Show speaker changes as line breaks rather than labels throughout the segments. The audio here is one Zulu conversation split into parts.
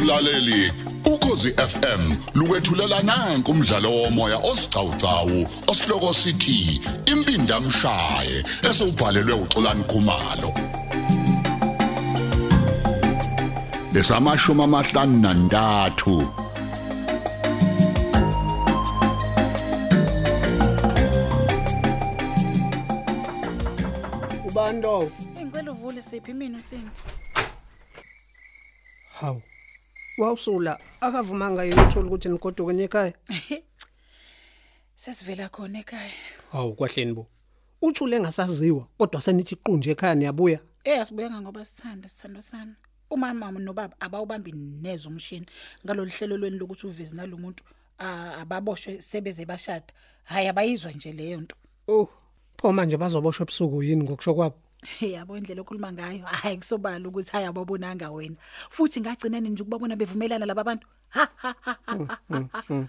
mlaleli ukhosi FM lukwethulela nanku umdlalo womoya osiqhawqhawo osihloko sithi impindi amshaye esubhalelwe uXolani Khumalo lesamashumi amahlanu nantathu
ubani lowo
Ngicela uvule siphi mina usindi.
hawu wawusula akavumanga yena uthola ukuthi nigoduke nekhaya
Sesivela khona ekhaya.
hawu kwahleni bo uthule engasaziwa kodwa senithi iqunje ekhaya niyabuya
Eh asibuyenga ngoba sithanda sithando sami. Umama nobaba abawubambi neze umshini ngalolu hlelo lweni lokuthi uveze nalomuntu ah, ababoshwe sebeze bashada. Hayi abayizwa nje leyo nto.
oh pho manje bazoboshwa ebusuku yini ngokusho kwabo
Hey yabo indlela okhuluma ngayo hayi kusobala ukuthi hayi ababonanga wena. Futhi ngagcina nini nje ukubabona bevumelana laba bantu. Ha ha ha ha.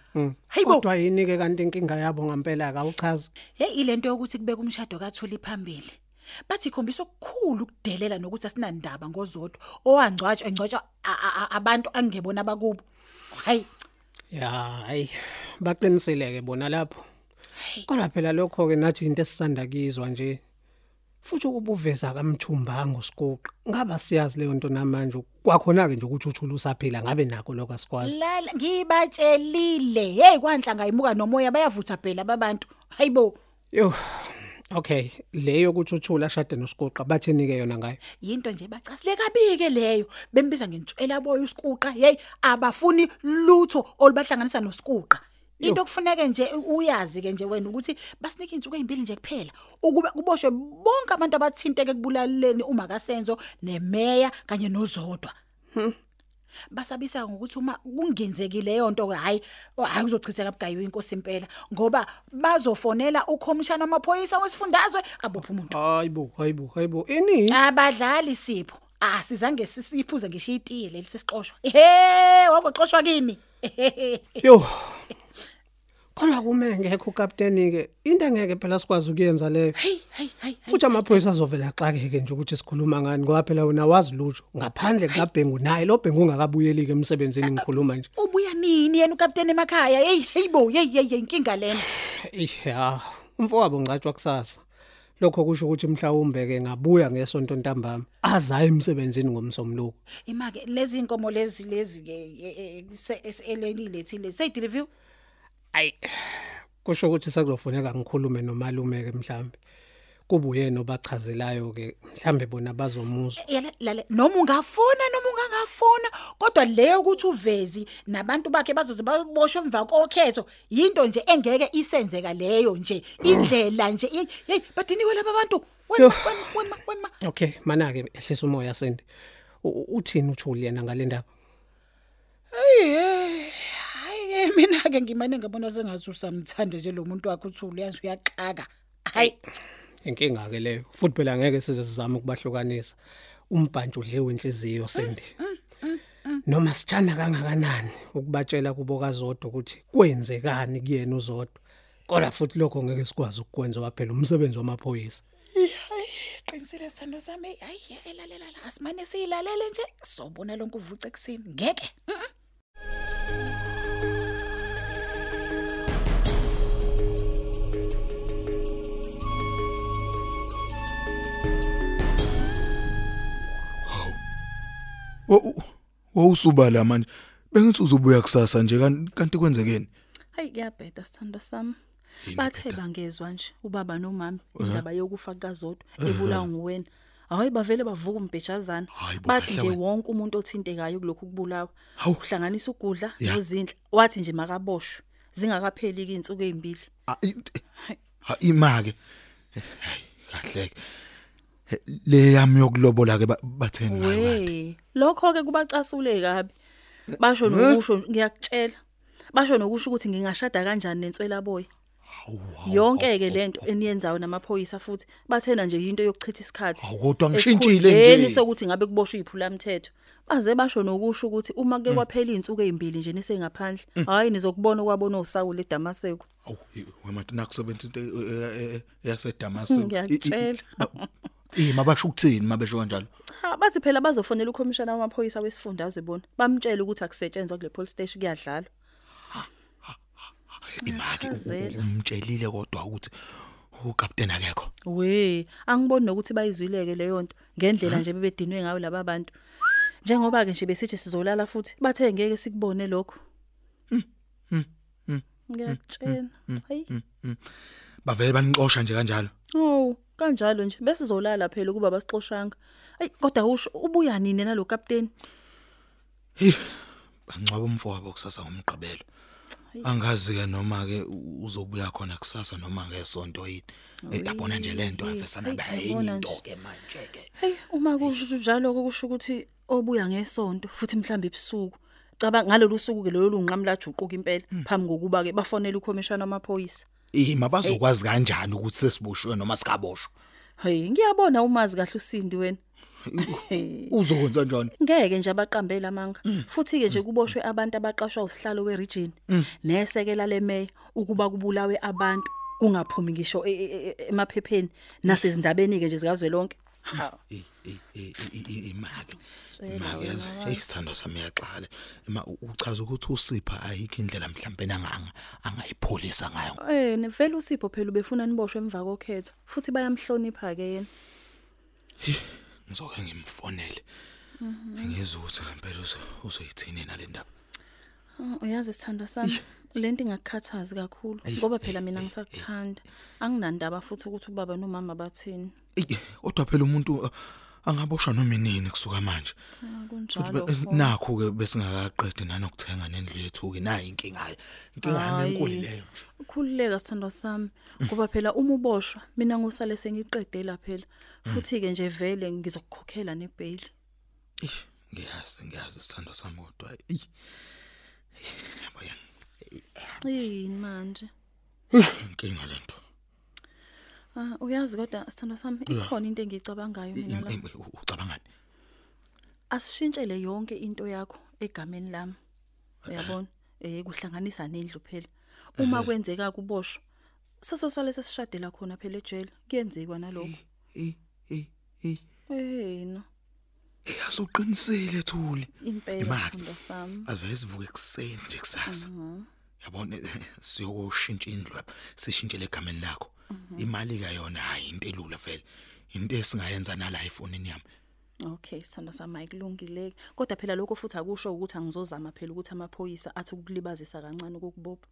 Hayibo.
kodwa yini-ke kanti inkinga yabo ngampela kawuchazi
Hey ilento yokuthi kubeka umshado kaThuli phambili. Bathi khombisa okukhulu ukudelela nokuthi asinandaba ngozodwa. Owangcwatshwa engcwatshwa a- a- a- abantu angebona bakubo. Hayi.
ya hayi baqinisile-ke bona lapho
Hayi.
kodwa phela lokho-ke nathi into esisanda kizwa nje futhi ukuba uveza kamthumbango sikuqa ngaba siyazi leyo nto namanje kwakhona-ke nje ukuthi uthule usaphila ngabe nakho lokho asikwazi
Lala ngibatshelile. Hey kwanhlanga imuka nomoya bayavutha phela ababantu. Hayibo.
Yo. Okay, leyo kuthuthula shade nosikoqa bathenike yona ngayo.
Yinto nje bacasile kabike leyo. Bembiza ngentshela boyo isikuqa. Hey abafuni lutho olubahlanganisa nosikuqa. Into okufuneke nje uyazi ke nje wena ukuthi basinike izinsuku ezimbili nje kuphela ukuba kuboshwe bonke abantu abathinteke kubulaleni uma kasenzo nemeya kanye nozodwa. Basabisa ngokuthi uma kungenzekile yonto ke hayi hayi kuzochitheka bugayiwe inkosi impela ngoba bazofonela ukhomishana wamaphoyisa wesifundazwe abopha umuntu.
Hayibo, hayibo, hayibo. Ini?
Abadlali sipho. Ah sizange sisiphuze ngisho itile lisesixoshwa. Ehe, wakoxoshwa kini. Ehehe.
Yo. Kodwa kume ngekho captain ke, into engeke phela sikwazi ukuyenza leyo.
Hey, hey, hey.
Futhi amaphoyisa azovela xakeke nje ukuthi sikhuluma ngani ngoba phela wena wazi lutho ngaphandle kaBhengu naye lo Bhengu ungakabuyeli ke emsebenzini ngikhuluma nje.
ubuya nini yena ukapteni emakhaya? Hey, hey bo, hey, hey, hey, inkinga lena.
Ya, umfowabo ngcatshwa kusasa. Lokho kusho ukuthi mhlawumbe ke ngabuya ngesonto ntambama azaye emsebenzini ngomsomluko.
Imake lezi inkomo lezi eh, lezi ke eseleni lethi le say delivery.
Ay kusho ukuthi sekuzofuneka ngikhulume nomalume ke mhlambi. Kubuye nobachazelayo ke mhlambe bona bazomuzwa.
Yala lale noma ungafona noma ungangafona kodwa leyo ukuthi uvezi nabantu bakhe bazoze baboshwe emva kokhetho yinto nje engeke isenzeka leyo nje indlela nje hey hey badiniwe laba bantu
Yo.
wema wema wema
Okay, mana ke ehlisa umoya sindi. U- Uthini uthuli yena ngalendaba?
hey hayi mina ke ngimane ngabona sengathi usamthande nje lo muntu wakhe uthule yazi uyaxaka hayi
Inkinga ke leyo. Futhi phela ngeke size sizame ukubahlukanisa. Umbhanti udlewe inhliziyo sindi. Noma sithanda kangakanani ukubatshela kubo kazodwa ukuthi kwenzekani kuyena uzodwa. Kodwa futhi lokho ngeke sikwazi ukukwenza waphela umsebenzi wamaphoyisa.
qinisile sithando sami hayi elalela asimane siyilalele nje sobona lonke uvuce ekseni ngeke
wawusubala manje bengithi uzobuya kusasa nje kan- kanti kwenzekeni
Hayi kuyabheda sithando sami. Bathe bangezwa nje ubaba nomama indaba yokufa kaZodwa ebulawa nguwena. Hayi bavele bavuka umbhejazana.
Hayi bo,
Bathi
kahle
nje
wena.
wonke umuntu othintekayo kulokhu kubulawa.
Hawu.
Uhlanganisa ugudla
Ya.
nozinhle. Wathi nje makaboshwe. Zingakapheli ke izinsuku ezimbili.
Ah, i- ha imake kahle le yami yokulobola ke batheni ngayo
We, lokho ke kubacasule kabi. Basho nokusho ngiyakutshela. Basho nokusho ukuthi ngingashada kanjani nenswela boya. Yonke ke lento eniyenzayo namaphoyisa futhi bathena nje into yokuchitha isikhathi.
Hawu, kodwa ngishintshile nje.
Esikhundleni sokuthi ngabe kuboshwe iphula mthetho. Baze basho nokusho ukuthi uma
Hmm.
kuke kwaphela izinsuku ezimbili nje nisengaphandle. Hayi nizokubona kwabona uSawule eDamaseko.
awu wemathi nakusebenza into eh, yaseDamascus
Ngiyakutshela.
ima basho ukuthini mabesho kanjalo
cha bathi phela bazofonela ukhomishana wamaphoyisa wesifundazwe bona bamtshela ukuthi akusetshenzwa kule police station kuyadlalwa
imaki u- u-
Chazela.
umtshelile kodwa ukuthi ukapteni akekho
we angiboni nokuthi bayizwileke leyo nto ngendlela nje bebedinwe ngayo laba bantu njengoba ke nje besithi sizolala futhi bathe ngeke sikubone lokho ngiyakutshela hayi
bavele banixosha nje kanjalo
Oh, kanjalo nje bese sizolala phela kuba basixoshanga. Ayi kodwa usho ubuya nini nalo captain?
bangcwaba umfowabo kusasa ngomgqibelo angazi ke noma ke u- uzobuya khona kusasa noma ngesonto yini Eh, yabona nje lento
Ayi,
afesana
ayi,
bayenye
yabona
into
nje.
ke manje ke
Hey, uma kusho njalo kusho ukuthi obuya ngesonto futhi mhlambe ebusuku. Caba ngalolu suku ke lolu lunqamla juquka impela phambi kokuba ke bafonele ukhomishana wamaphoyisa.
ima bazokwazi kanjani ukuthi sesiboshwe noma sikaboshwe
Hey, ngiyabona umazi kahle usindi wena.
uzokwenza njani
Ngeke nje abaqambele amanga.
Mm.
Futhi ke nje kuboshwe abantu abaqashwa usihlalo weregion nesekela lemeya ukuba kubulawe abantu kungaphumi ngisho e- e- e- emaphepheni nasezindabeni ke nje zikazwelonke. Ha.
Eh, eh, eh, i- i- i- imaki imaki yazi hey sithando sami yaxala ima u- uchaza ukuthi usipha ayikho indlela mhlawumbe nanganga angayipholisa ngayo
Eh nevele usipho phela ubefuna niboshwe emva kokhetho futhi bayamhlonipha ke yena.
ngizoke ngimfonele
Mhm.
ngizwe ukuthi ngempela uzo- uzoyithini nalendaba
Oh, Uyazi sithanda sami lento ingakukhathazi kakhulu ngoba phela mina ngisakuthanda. Anginandaba futhi ukuthi ubaba nomama bathini.
Eyi, kodwa phela umuntu uh, angaboshwa noma inini kusuka manje
Ah,
Futhi be-
Kunjalo.
nakho ke besingakaqedi nanokuthenga nendlu yethu ke nayi inkinga inkinga yami enkulu
Hhayi,
leyo
Ukhululeka sithandwa sami ngoba phela uma uboshwa mina ngosale sengiqedela phela futhi ke nje vele ngizokukhokhela nebail.
Eish, ngiyazi ngiyazi sithando sami kodwa eyi yabo ya
Yini manje?
inkinga lento
Ah uyazi kodwa sithandwa sami ikhona into engiyicabangayo
I-
mina la.
i- u- ucabangani
Asishintshele yonke into yakho egameni lami. Uyabona? Eh kuhlanganisa nendlu phela. Uma kwenzeka kuboshwa sesosale sesishadela khona phela ejele kuyenzeka nalokho.
eyi eyi eyi
Eh no
asuqinisile thuli
impela
Imali.
sithandwa sami.
asivaye sivuke ekuseni nje kusasa yabona eh, siyokushintsha indlu lapha sishintshele egameni lakho imali kayona hayi into elula vele into esingayenza nala ifonini yami
Okay sithanda sama ikulungileke kodwa phela lokho futhi akusho ukuthi angizozama phela ukuthi amaphoyisa athi ukulibazisa kancane ukukubopha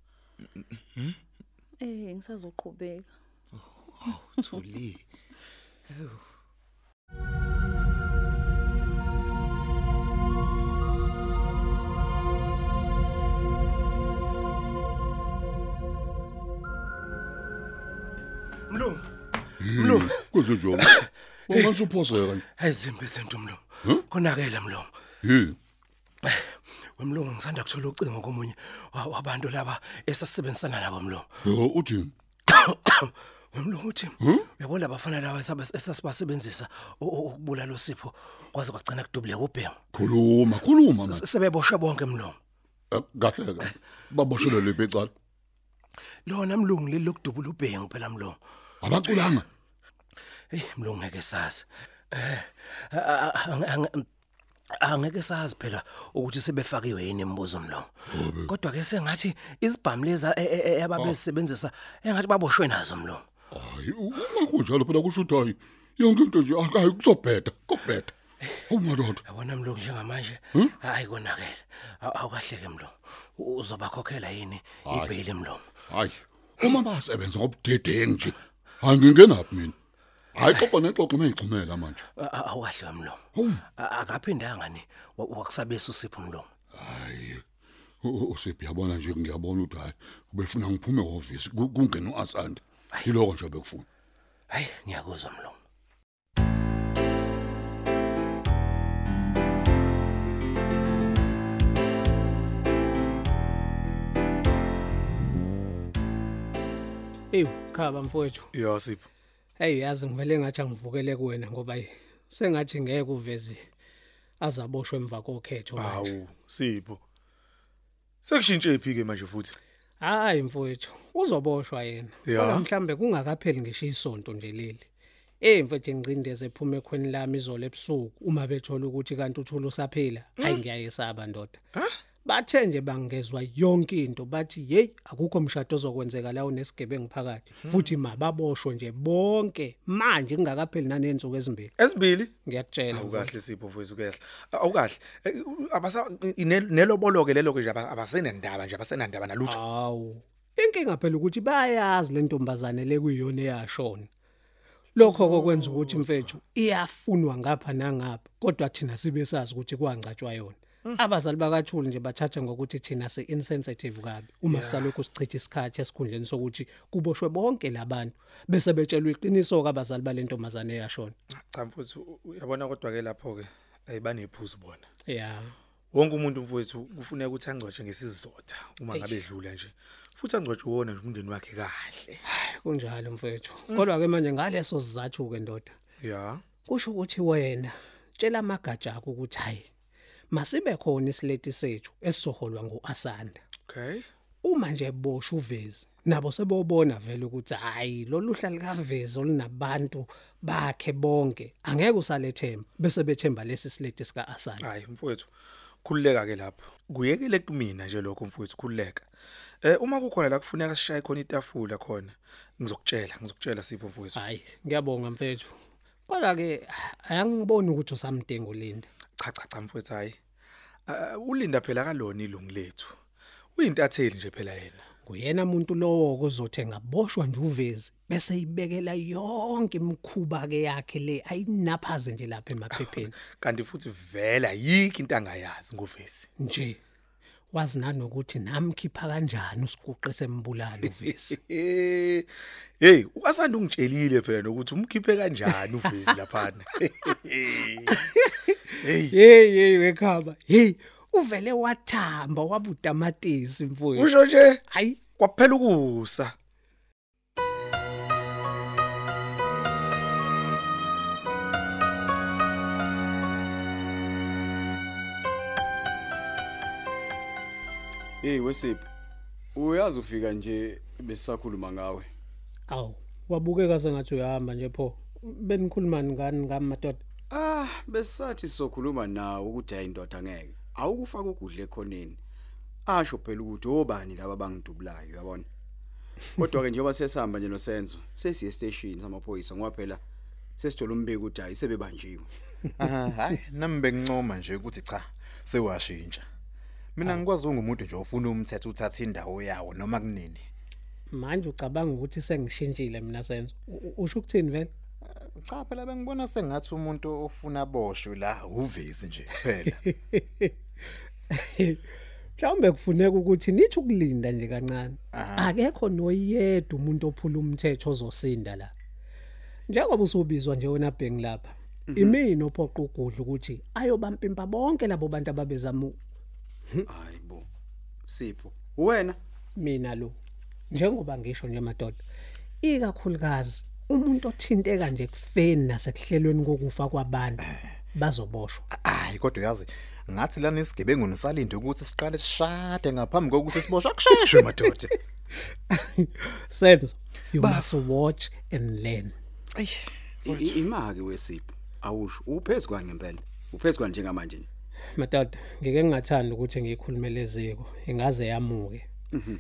Eh ngisazoqhubeka
oh thuli
Mlungu,
Mlo. Kuze njobe. Ungathi uphoseka kanje.
ayizimbe izinto mlungu. Konakela mlungu.
Hey,
Wemlungu ngisanda kuthola ucingo komunye wa- wabantu laba esasebenzisana nabo mlungu.
yo uthini?
Wemlungu uthi uyabona abafana laba esaba- esasibasebenzisa u- u- ukubulala uSipho kwaze kwagcina kudubuleka ubhengu.
Khuluma, khuluma manje.
Se- Sebeboshwe bonke mlungu.
Kahle kahle. Baboshelwe lephi ecala?
Lona mlungu leli lokudubula ubhengu phela mlungu.
Abaculanga.
Hey mlungu ngeke sazi. Eh a- a- ang- ang- angeke sazi phela ukuthi sebefakiwe yini imibuzo mlungu. Kodwa ke sengathi isibhamu leza e- e- e- ababesebenzisa engathi baboshwe nazo mlungu.
Hayi, uma kunjalo phela kusho ukuthi hayi yonke into nje akayi kusobhedha, kobhedha. Oh madoda.
Yabona mlungu njengamanje hayi konakele. Awukahleke mlungu. U- Uzobakhokhela yini ibhayile mlungu?
Hayi, uma basebenza ngobudedengu nje. Angingenaphi mina. Hayi xoxa nexoxa ngiyixhumela manje.
A- a- Awahle mlungu.
Hawu.
A- Akaphindanga ni wa- wakusabesa usipho mlungu.
Hayi. Usebiyabona nje ngiyabona ukuthi hayi ubefuna ngiphume office kungena uAsanda. Yiloko nje bekufuna.
Hayi ngiyakuzwa mlungu.
Ewu khaba mfowethu.
ya sipho
Hey yazi ngivele ngathi angivukele kuwena ngoba hhayi, sengathi ngeke uvezi azaboshwe emva kokhetho manje.
awu sipho sekushintshe iphi ke manje futhi
Hayi mfowethu, uzoboshwa yena.
Ya.
Kodwa mhlambe kungakapheli ngisho isonto nje leli. Eh mfethu ngicindeze ephume khweni lami izolo ebusuku uma bethola ukuthi kanti uthula usaphila
Hmm?
hayi ngiyayesaba ndoda. Bathe nje bangezwa yonke into bathi hey akukho umshado ozokwenzeka la unesigebengu phakathi
Hmm.
futhi mababoshwe nje bonke manje kungakapheli nanenzuko ezimbili
Esibili
ngiyakutshela
awukahle sipho mfowethu kuyehla A- awukahle Eh, abasa ine- nelobolo ke lelo ke nje aba- abasenandaba nje abasenandaba nalutho
Hawu. Inkinga phela ukuthi bayazi le ntombazane le kuyiyona eyashona. Lokho kokwenza ukuthi mfethu iyafunwa ngapha nangapha kodwa thina sibe sazi ukuthi kwangcatshwa yona. Abazali bakathuli nje bathatha ngokuthi thina se insensitive kabi uma sisalokhu sichitha isikhathi esikhundleni sokuthi kuboshwe bonke labantu bese betshelwe iqiniso kabazali balentombazane eyashona.
cha mfowethu u- uyabona kodwa ke lapho ke ayibanephuzu bona
Yeah.
wonke umuntu mfowethu kufuneka ukuthi angcwetshwe ngesizotha uma ngabe edlula nje futhi angcwetshwe wona nje umndeni wakhe kahle
Kunjalo mfethu. Kodwa ke manje ngaleso sizathu ke ndoda.
ya
kusho ukuthi wena tshela amagatsha akho ukuthi hayi masibe khona isileti sethu esizoholwa nguAsanda
okay
uma nje boshwe uvezi nabo sebobona vele ukuthi hayi loluhla likavezi olunabantu bakhe bonke angeke usalethemba bese bethemba lesi sileti sikaAsanda
hayi mfowethu khululeka ke lapho kuyekele kumina nje lokho mfowethu khululeka eh uma kukhona la kufuneka sishaye khona itafula khona ngizokutshela ngizokutshela sipho mfowethu
hayi ngiyabonga mfethu kodwa ke ayangiboni ukuthi usamdengo Linda
cha cha cha mfowethu hayi Ah, ulinda phela kalona ilungu lethu uyintatheli nje phela yena
kuyena umuntu lowo kozothenga boshwa nje uvezi bese ibekela yonke imkhuba ke yakhe le ayinaphaze nje lapha emaphepheni
kanti futhi vela yiki into angayazi ngovesi
nje wazi nanokuthi namkhipha kanjani usiguqe sembulalo uvesi
Eh, hey uasanda ungitshelile phela nokuthi umkhiphe kanjani uvesi laphana
hey hey wekhaba hey uvele wathamba wabutamatisi mfowethu
usho nje
hayi
kwaphela ukusa
Hey wesiphi. Uyazi ufika nje besisakhuluma ngawe.
awu wabukeka sengathi uyahamba nje pho benikhulumani ngani ngami madoda
Ah, besathi sizokhuluma nawe ukuthi ayindoda ngeke. Awukufaka ukudle ekhoneni. Asho phela ukuthi obani laba bangidubulayo yabona. Kodwa ke njengoba sesihamba nje nosenzo, sesiye station samaphoyisa ngoba phela sesithola umbiko ukuthi hayi sebebanjiwe.
hayi nami bengincoma nje ukuthi cha sewashintsha mina ngikwazi ungumuntu nje ofuna umthetho uthatha indawo yawo noma kunini
manje ucabanga ukuthi sengishintshile mina senzo U- u- usho ukuthini vele
cha phela bengibona sengathi umuntu ofuna boshwe la uvesi nje phela
mhlawumbe kufuneka ukuthi nithi ukulinda nje kancane akekho noyedwa umuntu ophula umthetho ozosinda la njengoba usubizwa nje wona bhengi lapha imini ophoqa ugudla ukuthi ayobampimpa bonke labo bantu ababezama
Hayibo. Sipho, wena
mina lo njengoba ngisho nje madoda ikakhulukazi umuntu othinteka nje kufeni nasekuhlelweni kokufa kwabantu bazoboshwa
hayi kodwa uyazi ngathi lana isigebengu nisalinde ukuthi siqale sishade ngaphambi kokuthi siboshwe akusheshwe madoda
senzo you must watch and learn
i- i- imake wesipho. Awusho, uphezukwa ngempela. Uphezukwa njengamanje. nje.
Madoda, ngeke ngingathanda ukuthi ngikhulume leziko, ingaze yamuke.
Mhm.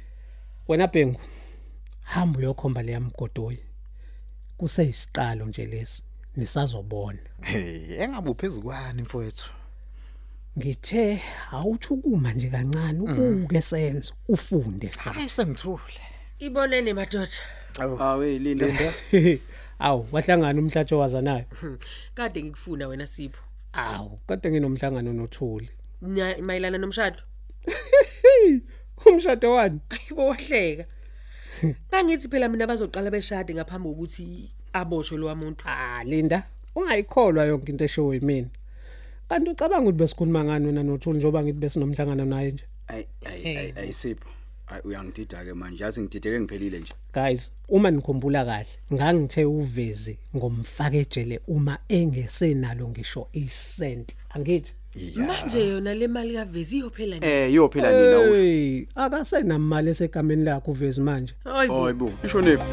Wena Bhengu, hamba uyokhomba leya mgodoyi. Kuseyisiqalo nje lesi, nisazobona.
hey engabe uphezukwani mfowethu
Ngithe awuthukuma nje kancane
Mhm.
ubuke senzo, ufunde.
hayi sengithule
Ibonene madoda.
Awe Linda.
Aw, wahlangana umhlatsho wazanayo.
Kade ngikufuna wena Sipho.
Aw, kodwa nginomhlangano nothuli.
Nya- Mayelana nomshado.
Umshado wani?
Ayibo wahleka. Kangithi phela mina bazoqala beshade ngaphambi kokuthi aboshwe lo muntu.
Ah, Linda, ungayikholwa yonke into eshiwo yimina. Kanti ucabanga ukuthi besikhuluma ngani wena nothuli njengoba ngithi besinomhlangano naye nje?
Ay ay ay ayisipho. Ay uyangidida ke manje yazi ngidideke ngiphelile nje.
guys uma nikhumbula kahle ngangithe uvezi ngomfake ejele uma engesenalo ngisho isent angithi
Manje yona le mali kavezi iyophela nje.
Eh iyophela nina usho.
hey akasenamali esegameni lakhe uvezi manje
Hayibo.
Hayibo, ishonephi?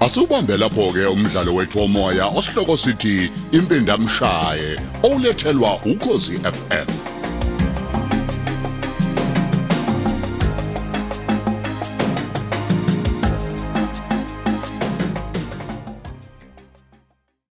Asubambe lapho ke umdlalo wethu womoya osihloko sithi impindamshaye olethelwa ukozi FM